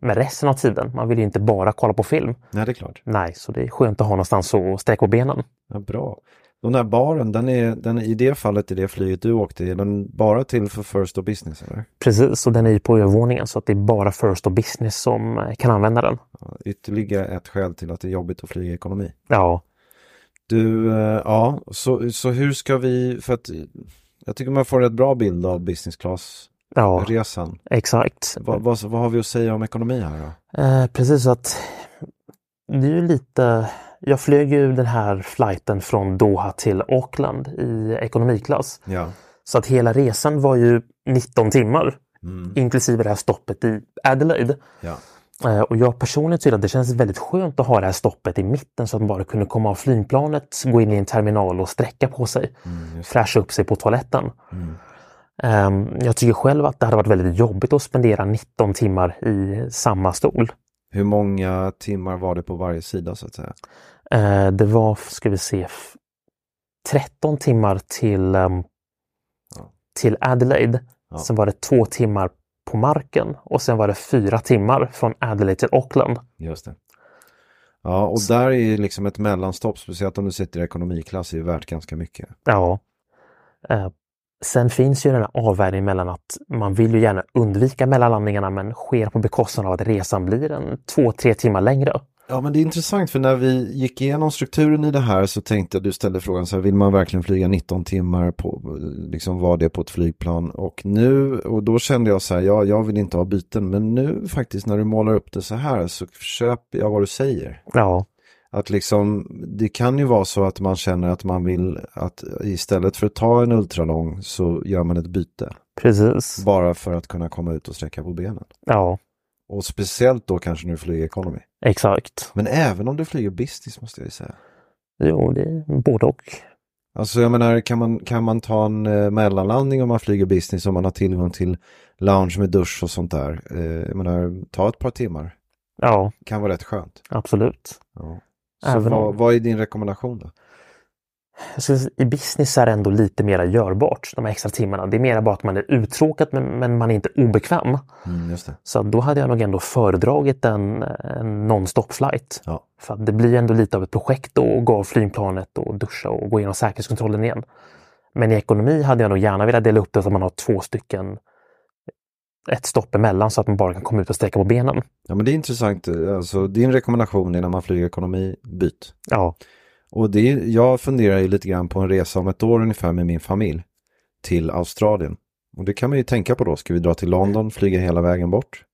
[SPEAKER 2] Men resten av tiden, man vill ju inte bara kolla på film.
[SPEAKER 1] Nej, det är klart.
[SPEAKER 2] Nej, så det är skönt att ha någonstans att sträcka på benen.
[SPEAKER 1] Ja, bra. Den där baren, den är, den är i det fallet i det flyget du åkte, är den bara till för First och Business eller?
[SPEAKER 2] Precis, och den är ju på övervåningen så att det är bara First och Business som eh, kan använda den.
[SPEAKER 1] Ja, Ytterligare ett skäl till att det är jobbigt att flyga ekonomi.
[SPEAKER 2] Ja,
[SPEAKER 1] Du, eh, ja, så, så hur ska vi, för att jag tycker man får en rätt bra bild av business class-resan.
[SPEAKER 2] ja exakt.
[SPEAKER 1] Vad, vad, vad har vi att säga om ekonomi här då?
[SPEAKER 2] Eh, precis, så att det är ju lite... Jag flög ju den här flighten från Doha till Auckland i ekonomiklass.
[SPEAKER 1] Ja,
[SPEAKER 2] Så att hela resan var ju 19 timmar, inklusive det här stoppet i Adelaide.
[SPEAKER 1] Mm, ja.
[SPEAKER 2] Eh, Och jag personligen tycker att det känns väldigt skönt att ha det här stoppet i mitten så att man bara kunde komma av flygplanet, gå in i en terminal och sträcka på sig.
[SPEAKER 1] Mm,
[SPEAKER 2] fräscha upp sig på toaletten. Ehm, Jag tycker själv att det hade varit väldigt jobbigt att spendera 19 timmar i samma stol.
[SPEAKER 1] Hur många timmar var det på varje sida så att säga?
[SPEAKER 2] Eh, Det var, ska vi se, f- 13 timmar till, ehm,
[SPEAKER 1] Ja.
[SPEAKER 2] till Adelaide.
[SPEAKER 1] Ja.
[SPEAKER 2] Sen var det två timmar på marken och sen var det fyra timmar från Adelaide till Auckland.
[SPEAKER 1] Just det. Ja, och där är ju liksom ett mellanstopp, speciellt om du sitter i ekonomiklass, är ju värt ganska mycket.
[SPEAKER 2] Ja. Eh, Sen finns ju den här avvägningen mellan att man vill ju gärna undvika mellanlandningarna men sker på bekostnad av att resan blir en två, tre timmar längre.
[SPEAKER 1] Ja, men det är intressant för när vi gick igenom strukturen i det här så tänkte jag, du ställde frågan så här, vill man verkligen flyga 19 timmar på, liksom var det på ett flygplan? Och nu, och då kände jag så här, ja, jag vill inte ha byten, men nu faktiskt när du målar upp det så här så köper jag vad du säger.
[SPEAKER 2] Ja,
[SPEAKER 1] Att liksom, det kan ju vara så att man känner att man vill att istället för att ta en ultralång så gör man ett byte.
[SPEAKER 2] precis.
[SPEAKER 1] Bara för att kunna komma ut och sträcka på benen.
[SPEAKER 2] Ja,
[SPEAKER 1] Och speciellt då kanske när du flyger economy.
[SPEAKER 2] exakt.
[SPEAKER 1] Men även om du flyger business måste jag ju säga.
[SPEAKER 2] Jo, det är både och.
[SPEAKER 1] Alltså jag menar, kan man, kan man ta en eh, mellanlandning om man flyger business om man har tillgång till lounge med dusch och sånt där? Eh, jag menar, ta ett par timmar.
[SPEAKER 2] Ja,
[SPEAKER 1] Kan vara rätt skönt.
[SPEAKER 2] absolut.
[SPEAKER 1] Ja. Så
[SPEAKER 2] Även
[SPEAKER 1] vad,
[SPEAKER 2] om-
[SPEAKER 1] vad är din rekommendation då?
[SPEAKER 2] Jag skulle säga, I business är det ändå lite mera görbart, de här extra timmarna. Det är mera bara att man är uttråkad men, men man är inte obekväm.
[SPEAKER 1] Mm, just det.
[SPEAKER 2] Så då hade jag nog ändå föredragit en, en non-stop flight.
[SPEAKER 1] Ja.
[SPEAKER 2] För att det blir ändå lite av ett projekt då, att gå av flygplanet och duscha och gå igenom säkerhetskontrollen igen. Men i ekonomi hade jag nog gärna velat dela upp det så att man har två stycken, ett stopp emellan så att man bara kan komma ut och sträcka på benen.
[SPEAKER 1] Ja men det är intressant, alltså din rekommendation är när man flyger ekonomi, byt.
[SPEAKER 2] Ja,
[SPEAKER 1] Och det är, jag funderar ju lite grann på en resa om ett år ungefär med min familj till Australien. Och det kan man ju tänka på då, ska vi dra till London, flyga hela vägen bort?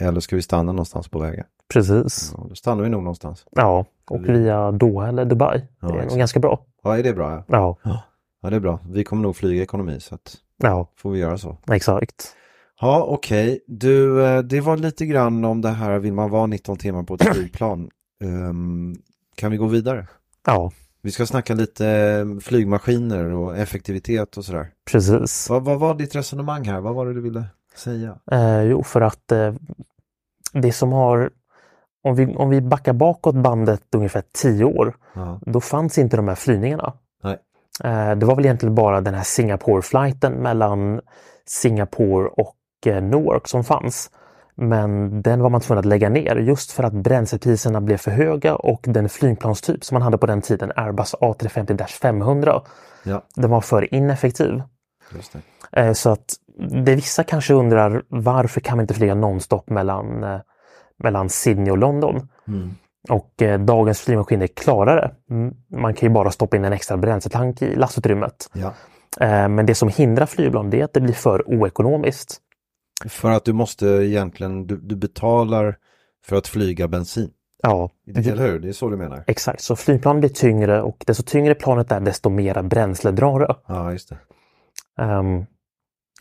[SPEAKER 1] Eller ska vi stanna någonstans på vägen?
[SPEAKER 2] precis.
[SPEAKER 1] Ja, då stannar vi nog någonstans.
[SPEAKER 2] Ja, och via Doha eller Dubai.
[SPEAKER 1] Ja,
[SPEAKER 2] det är nog
[SPEAKER 1] exakt.
[SPEAKER 2] ganska bra.
[SPEAKER 1] Ja, är det bra? Ja,
[SPEAKER 2] Ja,
[SPEAKER 1] ja det är bra. Vi kommer nog flyga ekonomi så att
[SPEAKER 2] ja,
[SPEAKER 1] får vi göra så.
[SPEAKER 2] exakt.
[SPEAKER 1] Ja, okej. Du, eh, det var lite grann om det här, vill man vara 19 timmar på ett flygplan? Ehm, kan vi gå vidare?
[SPEAKER 2] Ja,
[SPEAKER 1] Vi ska snacka lite eh, flygmaskiner och effektivitet och sådär.
[SPEAKER 2] precis.
[SPEAKER 1] Vad, vad var ditt resonemang här? Vad var det du ville säga?
[SPEAKER 2] Eh, jo, för att eh, det som har... Om vi, om vi backar bakåt bandet ungefär tio år,
[SPEAKER 1] Ja,
[SPEAKER 2] då fanns inte de här flygningarna.
[SPEAKER 1] Nej.
[SPEAKER 2] Eh, det var väl egentligen bara den här Singapore-flighten mellan Singapore och eh, Newark som fanns. Men den var man tvungen att lägga ner just för att bränslepriserna blev för höga och den flygplanstyp som man hade på den tiden, Airbus A350-500,
[SPEAKER 1] ja
[SPEAKER 2] den var för ineffektiv.
[SPEAKER 1] just det.
[SPEAKER 2] Eh, Så att det vissa kanske undrar varför kan man inte flyga nonstop mellan, eh, mellan Sydney och London? Och eh, dagens flygmaskiner klarar det. Mm, Man kan ju bara stoppa in en extra bränsletank i lastutrymmet.
[SPEAKER 1] Ja.
[SPEAKER 2] Eh, Men det som hindrar flygplan det är att det blir för oekonomiskt.
[SPEAKER 1] För att du måste egentligen, du, du betalar för att flyga bensin.
[SPEAKER 2] Ja,
[SPEAKER 1] Eller hur? Det är så du menar?
[SPEAKER 2] exakt. Så flygplan blir tyngre och desto tyngre planet är desto mera bränsle drar det.
[SPEAKER 1] Ja, just det.
[SPEAKER 2] Ehm,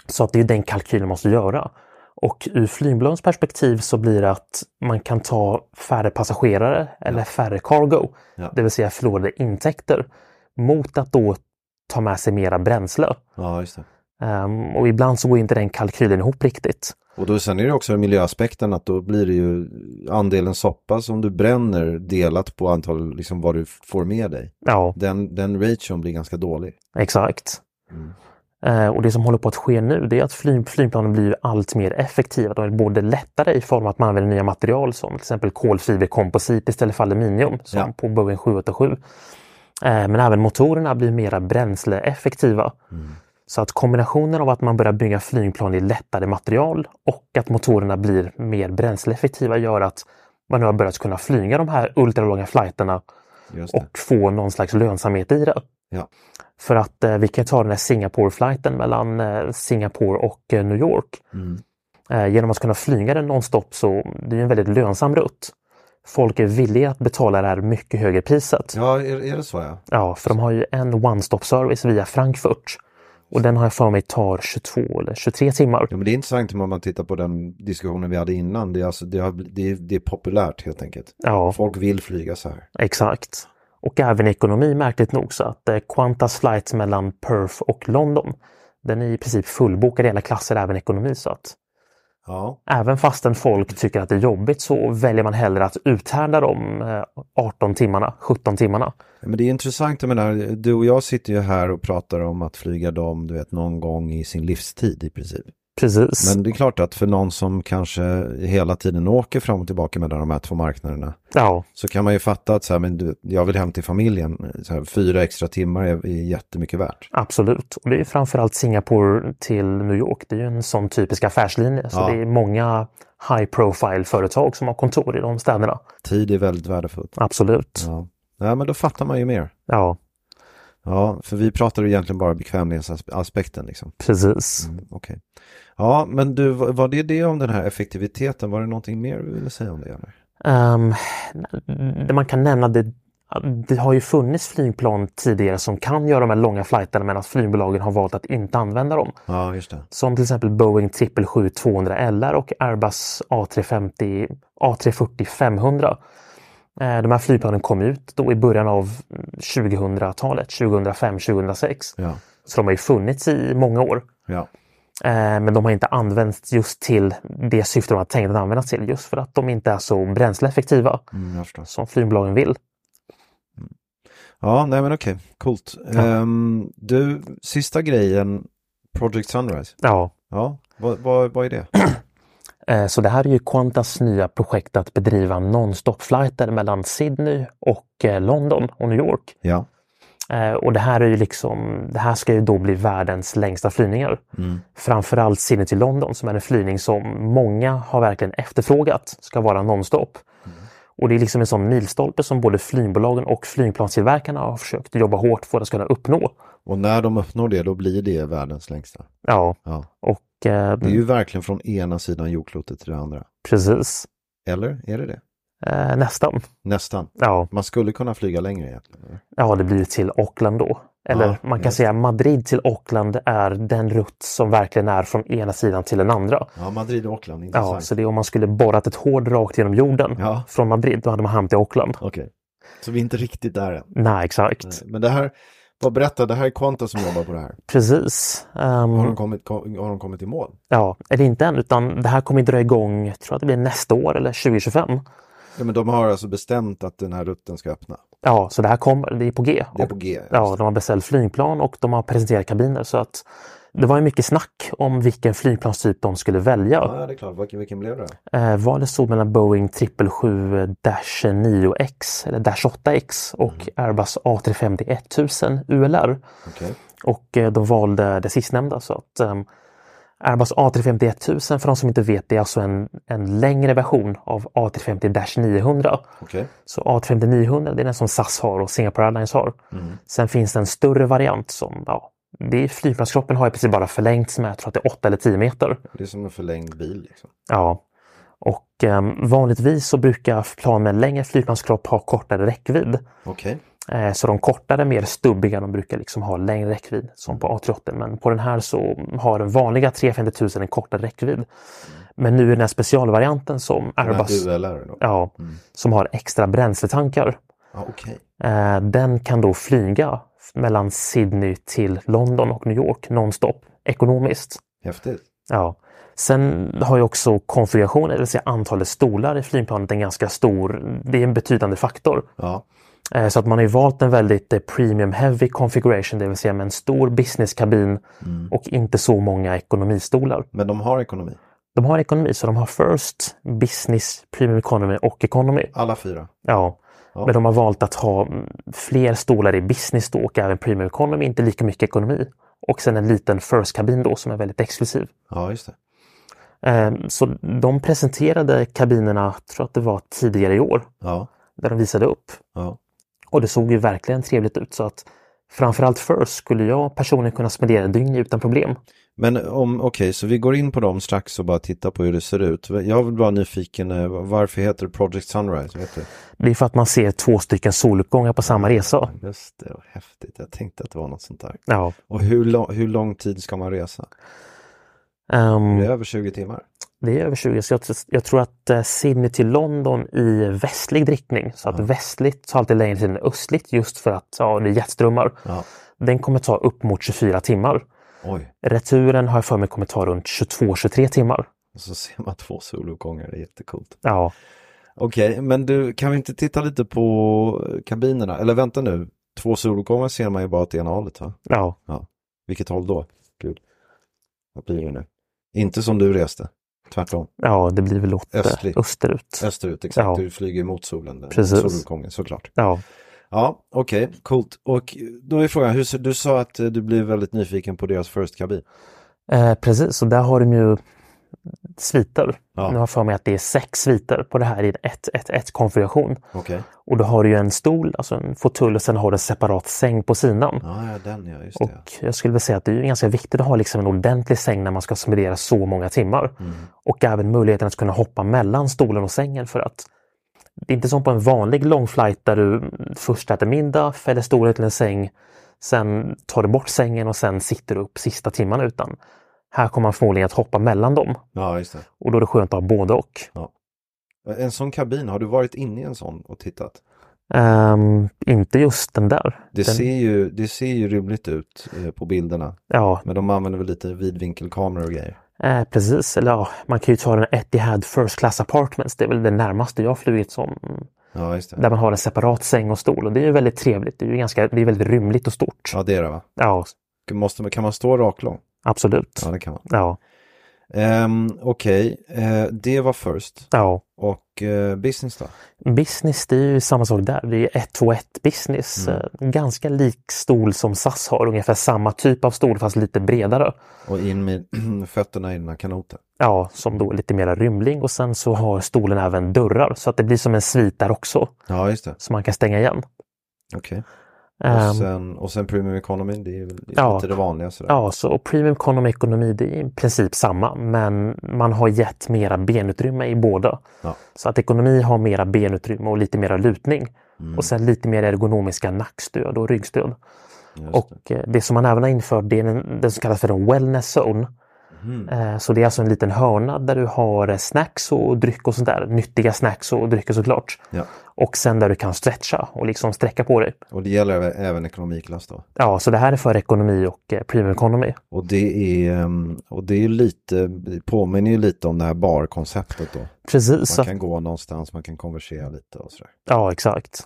[SPEAKER 2] så att det är den kalkylen man måste göra. Och ur flygbolagens perspektiv så blir det att man kan ta färre passagerare eller färre cargo,
[SPEAKER 1] Ja.
[SPEAKER 2] det vill säga förlorade intäkter, mot att då ta med sig mera bränsle.
[SPEAKER 1] Ja, just det.
[SPEAKER 2] Ehm, och ibland så går inte den kalkylen ihop riktigt.
[SPEAKER 1] Och då, sen är det också miljöaspekten att då blir det ju andelen soppa som du bränner delat på antal, liksom vad du f- får med dig.
[SPEAKER 2] Ja,
[SPEAKER 1] Den, den ration blir ganska dålig.
[SPEAKER 2] exakt. Ehm, och det som håller på att ske nu det är att flyg, flygplanen blir ju allt mer effektiva. De är både lättare i form av att man använder nya material som till exempel kolfiberkomposit istället för aluminium som
[SPEAKER 1] Ja.
[SPEAKER 2] på Boeing 787. Eh, Men även motorerna blir mera bränsleeffektiva. Så att kombinationen av att man börjar bygga flygplan i lättare material och att motorerna blir mer bränsleeffektiva gör att man nu har börjat kunna flyga de här ultralånga flighterna
[SPEAKER 1] Just det.
[SPEAKER 2] och få någon slags lönsamhet i det.
[SPEAKER 1] Ja.
[SPEAKER 2] För att eh, vi kan ju ta den här Singapore-flighten mellan eh, Singapore och eh, New York.
[SPEAKER 1] Mm.
[SPEAKER 2] Eh, genom att kunna flyga den nonstop så det är ju en väldigt lönsam rutt. Folk är villiga att betala det här mycket högre priset.
[SPEAKER 1] Ja, är, är det så ja?
[SPEAKER 2] Ja, för de har ju en one-stop-service via Frankfurt. Och den har jag för mig tar 22 eller 23 timmar.
[SPEAKER 1] Ja, men det är intressant om man tittar på den diskussionen vi hade innan. Det är, alltså, det har, det är, det är populärt helt enkelt.
[SPEAKER 2] Ja,
[SPEAKER 1] Folk vill flyga så här.
[SPEAKER 2] exakt. Och även ekonomi märkligt nog så att eh, Qantas flight mellan Perth och London den är i princip fullbokad i alla klasser, även ekonomi. Så att
[SPEAKER 1] Ja,
[SPEAKER 2] även fastän folk tycker att det är jobbigt så väljer man hellre att uthärda de eh, 18 timmarna, 17 timmarna.
[SPEAKER 1] Ja, Men det är intressant, jag menar, du och jag sitter ju här och pratar om att flyga dem, du vet, någon gång i sin livstid i princip.
[SPEAKER 2] Precis.
[SPEAKER 1] Men det är klart att för någon som kanske hela tiden åker fram och tillbaka mellan de här två marknaderna
[SPEAKER 2] Ja,
[SPEAKER 1] så kan man ju fatta att så här, men du, jag vill hem till familjen, så här, fyra extra timmar är, är jättemycket värt.
[SPEAKER 2] absolut. Och det är framförallt Singapore till New York. Det är ju en sån typisk affärslinje. Så
[SPEAKER 1] Ja.
[SPEAKER 2] det är många high profile företag som har kontor i de städerna.
[SPEAKER 1] Tid är väldigt värdefullt.
[SPEAKER 2] Absolut.
[SPEAKER 1] Ja. ja, men då fattar man ju mer.
[SPEAKER 2] Ja,
[SPEAKER 1] Ja, för vi pratar ju egentligen bara bekvämlighetsaspekten liksom.
[SPEAKER 2] precis.
[SPEAKER 1] Mm, Okej. Ja, men du, var var det det om den här effektiviteten? Var det någonting mer du ville säga om det? Eller?
[SPEAKER 2] Ehm, det man kan nämna det, det har ju funnits flygplan tidigare som kan göra de här långa flighterna men att flygbolagen har valt att inte använda dem.
[SPEAKER 1] Ja, just det.
[SPEAKER 2] Som till exempel Boeing 777-200LR och Airbus A350, A340-500. Eh, De här flygplanen kom ut då i början av 2000-talet, 2005-2006.
[SPEAKER 1] Ja,
[SPEAKER 2] Så de har ju funnits i många år.
[SPEAKER 1] ja.
[SPEAKER 2] Eh, Men de har inte använts just till det syfte de har tänkt att användas till. Just för att de inte är så bränsleeffektiva
[SPEAKER 1] Mm, jag förstår.
[SPEAKER 2] som flygbolagen vill.
[SPEAKER 1] Ja, nej men okej, coolt.
[SPEAKER 2] Ja.
[SPEAKER 1] Ehm, du, sista grejen, Project Sunrise.
[SPEAKER 2] Ja.
[SPEAKER 1] Ja, vad, vad, vad är det?
[SPEAKER 2] Eh, Så det här är ju Qantas nya projekt att bedriva non-stop-flighter mellan Sydney och eh, London och New York.
[SPEAKER 1] ja,
[SPEAKER 2] Eh, och det här är ju liksom, det här ska ju då bli världens längsta flygningar.
[SPEAKER 1] Mm.
[SPEAKER 2] Framförallt Sydney till London som är en flygning som många har verkligen efterfrågat ska vara nonstop.
[SPEAKER 1] Mm.
[SPEAKER 2] Och det är liksom en sån milstolpe som både flygbolagen och flygplanstillverkarna har försökt jobba hårt för att kunna uppnå.
[SPEAKER 1] och när de uppnår det, då blir det världens längsta.
[SPEAKER 2] Ja,
[SPEAKER 1] Ja.
[SPEAKER 2] och eh,
[SPEAKER 1] Det är ju verkligen från ena sidan jordklotet till det andra.
[SPEAKER 2] precis.
[SPEAKER 1] Eller är det det?
[SPEAKER 2] Eh, nästan.
[SPEAKER 1] Nästan.
[SPEAKER 2] Ja.
[SPEAKER 1] Man skulle kunna flyga längre egentligen. eller?
[SPEAKER 2] ja, det blir ju till Auckland då. Eller
[SPEAKER 1] Ja,
[SPEAKER 2] man kan
[SPEAKER 1] just.
[SPEAKER 2] säga Madrid till Auckland är den rutt som verkligen är från ena sidan till den andra.
[SPEAKER 1] Ja, Madrid och Auckland,
[SPEAKER 2] Ja,
[SPEAKER 1] intressant.
[SPEAKER 2] så det är om man skulle borrat ett hål rakt genom jorden
[SPEAKER 1] Ja.
[SPEAKER 2] från Madrid, då hade man hamnat i Auckland.
[SPEAKER 1] Okej, så vi är inte riktigt där än.
[SPEAKER 2] Nej, exakt.
[SPEAKER 1] Nej, Men det här, vad berätta, det här är Qantas som jobbar på det här.
[SPEAKER 2] Precis. Ehm,
[SPEAKER 1] Har, de kommit, kom, har de kommit i mål?
[SPEAKER 2] Ja, eller inte än, utan det här kommer dra igång, jag tror att det blir nästa år eller 2025.
[SPEAKER 1] Ja, men de har alltså bestämt att den här rutten ska öppna.
[SPEAKER 2] Ja, så det här kommer, det är på G.
[SPEAKER 1] Det är
[SPEAKER 2] Och-
[SPEAKER 1] på G.
[SPEAKER 2] Ja, de har beställt flygplan och de har presenterat kabiner så att det var ju mycket snack om vilken flygplanstyp de skulle välja.
[SPEAKER 1] Ja, det är klart. Vilken, vilken blev det? då?
[SPEAKER 2] Eh, valet stod mellan Boeing 777-9X eller Dash 8X och Airbus A350-1000 ULR.
[SPEAKER 1] Okej.
[SPEAKER 2] Och eh, de valde det sistnämnda. Så att, ehm, Airbus A350-1000 för de som inte vet det är alltså en, en längre version av A350-900.
[SPEAKER 1] Okej.
[SPEAKER 2] Så A350-900 det är den som SAS har och Singapore Airlines har. Sen finns det en större variant som ja, det är, flygplanskroppen har i princip bara förlängts med jag tror att det är 8 eller 10 meter.
[SPEAKER 1] Det är som en förlängd bil. Liksom.
[SPEAKER 2] Ja. Och ehm, vanligtvis så brukar plan med en längre flygplanskropp ha kortare räckvidd.
[SPEAKER 1] Okej.
[SPEAKER 2] Eh, så de kortare, mer stubbiga, de brukar liksom ha längre räckvidd som på A380. Men på den här så har den vanliga 350 000 en kortare räckvidd. Men nu är den här specialvarianten som
[SPEAKER 1] Den här Mm.
[SPEAKER 2] Airbus,
[SPEAKER 1] duellaren då?
[SPEAKER 2] ja, som har extra bränsletankar.
[SPEAKER 1] Ja, okej.
[SPEAKER 2] Eh, den kan då flyga mellan Sydney till London och New York nonstop ekonomiskt.
[SPEAKER 1] Häftigt.
[SPEAKER 2] Ja. Sen har ju också konfigurationen, det vill säga antalet stolar i flygplanet, en ganska stor, det är en betydande faktor.
[SPEAKER 1] Ja.
[SPEAKER 2] Eh, Så att man har ju valt en väldigt eh, premium heavy configuration, det vill säga med en stor businesskabin och inte så många ekonomistolar.
[SPEAKER 1] Men de har ekonomi.
[SPEAKER 2] De har ekonomi, så de har first, business, premium economy och economy.
[SPEAKER 1] Alla fyra.
[SPEAKER 2] Ja.
[SPEAKER 1] Ja.
[SPEAKER 2] Men de har valt att ha mm, fler stolar i business då och även premium economy, inte lika mycket ekonomi. Och sen en liten first-kabin då som är väldigt exklusiv.
[SPEAKER 1] Ja, just det.
[SPEAKER 2] Eh, Så de presenterade kabinerna, tror att det var tidigare i år,
[SPEAKER 1] Ja,
[SPEAKER 2] där de visade upp.
[SPEAKER 1] ja,
[SPEAKER 2] Och det såg ju verkligen trevligt ut så att framförallt First skulle jag personligen kunna spendera ett dygn utan problem.
[SPEAKER 1] Men om, okej, så vi går in på dem strax och bara tittar på hur det ser ut. Jag vill bara nyfiken, eh, varför heter det Project Sunrise? Vet du?
[SPEAKER 2] Det är för att man ser två stycken soluppgångar på samma resa.
[SPEAKER 1] Just det, vad häftigt. Jag tänkte att det var något sånt där.
[SPEAKER 2] Ja.
[SPEAKER 1] Och hur, lång- hur lång tid ska man resa?
[SPEAKER 2] ehm,
[SPEAKER 1] Är Det är över 20 timmar.
[SPEAKER 2] det är över 20 så jag, jag tror att eh, Sydney till London i västlig riktning, så att
[SPEAKER 1] Ja.
[SPEAKER 2] västligt tar alltid längre tid än östligt just för att ja, det är jetströmmar.
[SPEAKER 1] Ja.
[SPEAKER 2] Den kommer ta upp mot 24 timmar.
[SPEAKER 1] Oj,
[SPEAKER 2] Returen har jag för mig kommer ta runt 22-23 timmar.
[SPEAKER 1] och så ser man två soluppgångar, det är jättecoolt.
[SPEAKER 2] Ja.
[SPEAKER 1] Okej, men du, kan vi inte titta lite på kabinerna? Eller vänta nu, två soluppgångar ser man ju bara åt ena hållet va?
[SPEAKER 2] ja.
[SPEAKER 1] Vilket håll då? Gud. Vad blir det nu? Inte som du reste, tvärtom.
[SPEAKER 2] Ja, det blir väl åt eh,
[SPEAKER 1] Östligt.
[SPEAKER 2] österut.
[SPEAKER 1] Österut, exakt.
[SPEAKER 2] Ja.
[SPEAKER 1] Du flyger ju mot solen, där.
[SPEAKER 2] Precis.
[SPEAKER 1] soluppgången såklart.
[SPEAKER 2] Ja.
[SPEAKER 1] Ja, okej, coolt. Och då är frågan, hur, ser- du sa att eh, du blev väldigt nyfiken på deras first kabin.
[SPEAKER 2] Eh, precis, och där har de ju sviter.
[SPEAKER 1] Ja.
[SPEAKER 2] Nu har jag för mig att det är sex sviter på det här i en 1 konfiguration.
[SPEAKER 1] Okej,
[SPEAKER 2] Och då har du ju en stol, alltså en fåtölj och sen har du en separat säng på sidan.
[SPEAKER 1] ja, ja, den ja, just det. ja.
[SPEAKER 2] Och jag skulle vilja säga att det är ju ganska viktigt att ha liksom en ordentlig säng när man ska spendera så många timmar.
[SPEAKER 1] Mm.
[SPEAKER 2] Och även möjligheten att kunna hoppa mellan stolen och sängen för att det är inte som på en vanlig långflight där du först äter middag, fäller stolen till en säng, sen tar du bort sängen och sen sitter du upp sista timman utan. Här kommer man förmodligen att hoppa mellan dem
[SPEAKER 1] Ja, just det. Eh,
[SPEAKER 2] och då är det skönt att ha både och.
[SPEAKER 1] En sån kabin, har du varit inne i en sån och tittat?
[SPEAKER 2] Ehm, inte just den där.
[SPEAKER 1] Det,
[SPEAKER 2] den,
[SPEAKER 1] ser, ju, det ser ju rymligt ut eh, på bilderna,
[SPEAKER 2] ja,
[SPEAKER 1] men de använder väl lite vidvinkelkameror och grejer.
[SPEAKER 2] Eh, precis, eller ja, man kan ju ta den Etihad First Class Apartments. Det är väl det närmaste jag har flugit som.
[SPEAKER 1] Ja, just det.
[SPEAKER 2] Där man har en separat säng och stol och det är ju väldigt trevligt. Det är ju ganska, det är väldigt rymligt och stort.
[SPEAKER 1] Ja, det är det va?
[SPEAKER 2] Ja,
[SPEAKER 1] Måste, man- kan man stå raklång?
[SPEAKER 2] absolut.
[SPEAKER 1] Ja, det kan man.
[SPEAKER 2] Ja,
[SPEAKER 1] Ehm, Okej, eh, det var first.
[SPEAKER 2] ja.
[SPEAKER 1] Och eh, business då?
[SPEAKER 2] Business, det är ju samma sak där. Det är ju 121 business.
[SPEAKER 1] Mm.
[SPEAKER 2] Eh, Ganska lik stol som SAS har. Ungefär samma typ av stol fast lite bredare.
[SPEAKER 1] Och in med <clears throat> fötterna i den här kanoten.
[SPEAKER 2] Ja, som då är lite mera rymling och sen så har stolen även dörrar så att det blir som en svit där också.
[SPEAKER 1] Ja, just det.
[SPEAKER 2] Som man kan stänga igen.
[SPEAKER 1] Okej.
[SPEAKER 2] Ehm,
[SPEAKER 1] Och, sen, och sen premium economy, det är väl
[SPEAKER 2] Ja.
[SPEAKER 1] lite det vanliga sådär.
[SPEAKER 2] Ja, så och premium economy och ekonomi det är i princip samma men man har gett mera benutrymme i båda.
[SPEAKER 1] Ja.
[SPEAKER 2] Så att ekonomi har mera benutrymme och lite mera lutning
[SPEAKER 1] Mm.
[SPEAKER 2] och sen lite mer ergonomiska nackstöd och ryggstöd.
[SPEAKER 1] Just
[SPEAKER 2] Och det. det som man även har infört det är den, den som kallas för en wellness zone.
[SPEAKER 1] Mm.
[SPEAKER 2] Eh, Så det är alltså en liten hörna där du har eh, snacks och dryck och sånt där. Nyttiga snacks och drycker såklart.
[SPEAKER 1] det. Ja.
[SPEAKER 2] Och sen där du kan stretcha och liksom sträcka på dig.
[SPEAKER 1] Och det gäller även- även ekonomiklass då?
[SPEAKER 2] Ja, så det här är för ekonomi och eh, premium economy.
[SPEAKER 1] Och det är, ehm, och det är lite, det påminner ju lite om det här barkonceptet då. Man
[SPEAKER 2] Precis. så att-
[SPEAKER 1] kan gå någonstans, man kan konversera lite och sådär.
[SPEAKER 2] Ja, exakt.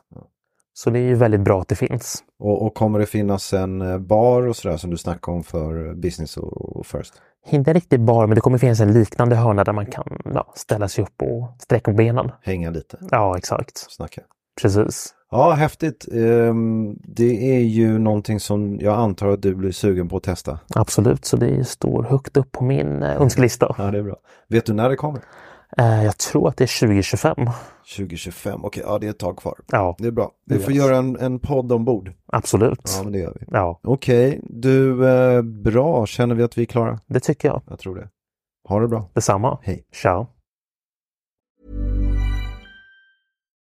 [SPEAKER 2] Så det är ju väldigt bra att det finns.
[SPEAKER 1] Och, och kommer det finnas en eh, bar och sådär som du snackade om för business och, och first?
[SPEAKER 2] Inte riktigt bar, men det kommer finnas en liknande hörna där man kan ja, ställa sig upp och sträcka på benen.
[SPEAKER 1] Hänga lite,
[SPEAKER 2] Ja, exakt.
[SPEAKER 1] snacka.
[SPEAKER 2] Precis.
[SPEAKER 1] Ja, häftigt. Ehm, det är ju någonting som jag antar att du blir sugen på att testa.
[SPEAKER 2] Absolut, så det står högt upp på min eh, önskelista.
[SPEAKER 1] Ja, det är bra. Vet du när det kommer?
[SPEAKER 2] Eh, Jag tror att det är 2025.
[SPEAKER 1] 2025, okej, ja det är ett tag kvar.
[SPEAKER 2] Ja,
[SPEAKER 1] Det är bra.
[SPEAKER 2] Det
[SPEAKER 1] Vi
[SPEAKER 2] är
[SPEAKER 1] får
[SPEAKER 2] bra.
[SPEAKER 1] göra en, en podd ombord.
[SPEAKER 2] absolut.
[SPEAKER 1] Ja, men det gör vi.
[SPEAKER 2] Ja,
[SPEAKER 1] Okej, du, eh, bra. Känner vi att vi är klara?
[SPEAKER 2] det tycker jag.
[SPEAKER 1] Jag tror det. Ha det bra.
[SPEAKER 2] Detsamma.
[SPEAKER 1] Hej.
[SPEAKER 2] Ciao.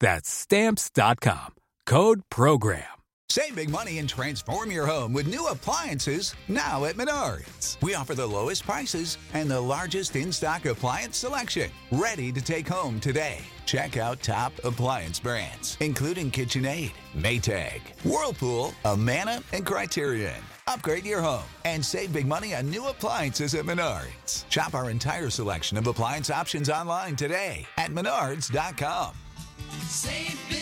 [SPEAKER 3] That's stamps.com. Code program.
[SPEAKER 4] Save big money and transform your home with new appliances now at Menards. We offer the lowest prices and the largest in stock appliance selection, ready to take home today. Check out top appliance brands, including KitchenAid, Maytag, Whirlpool, Amana, and Criterion. Upgrade your home and save big money on new appliances at Menards. Shop our entire selection of appliance options online today at menards.com.
[SPEAKER 5] Save big.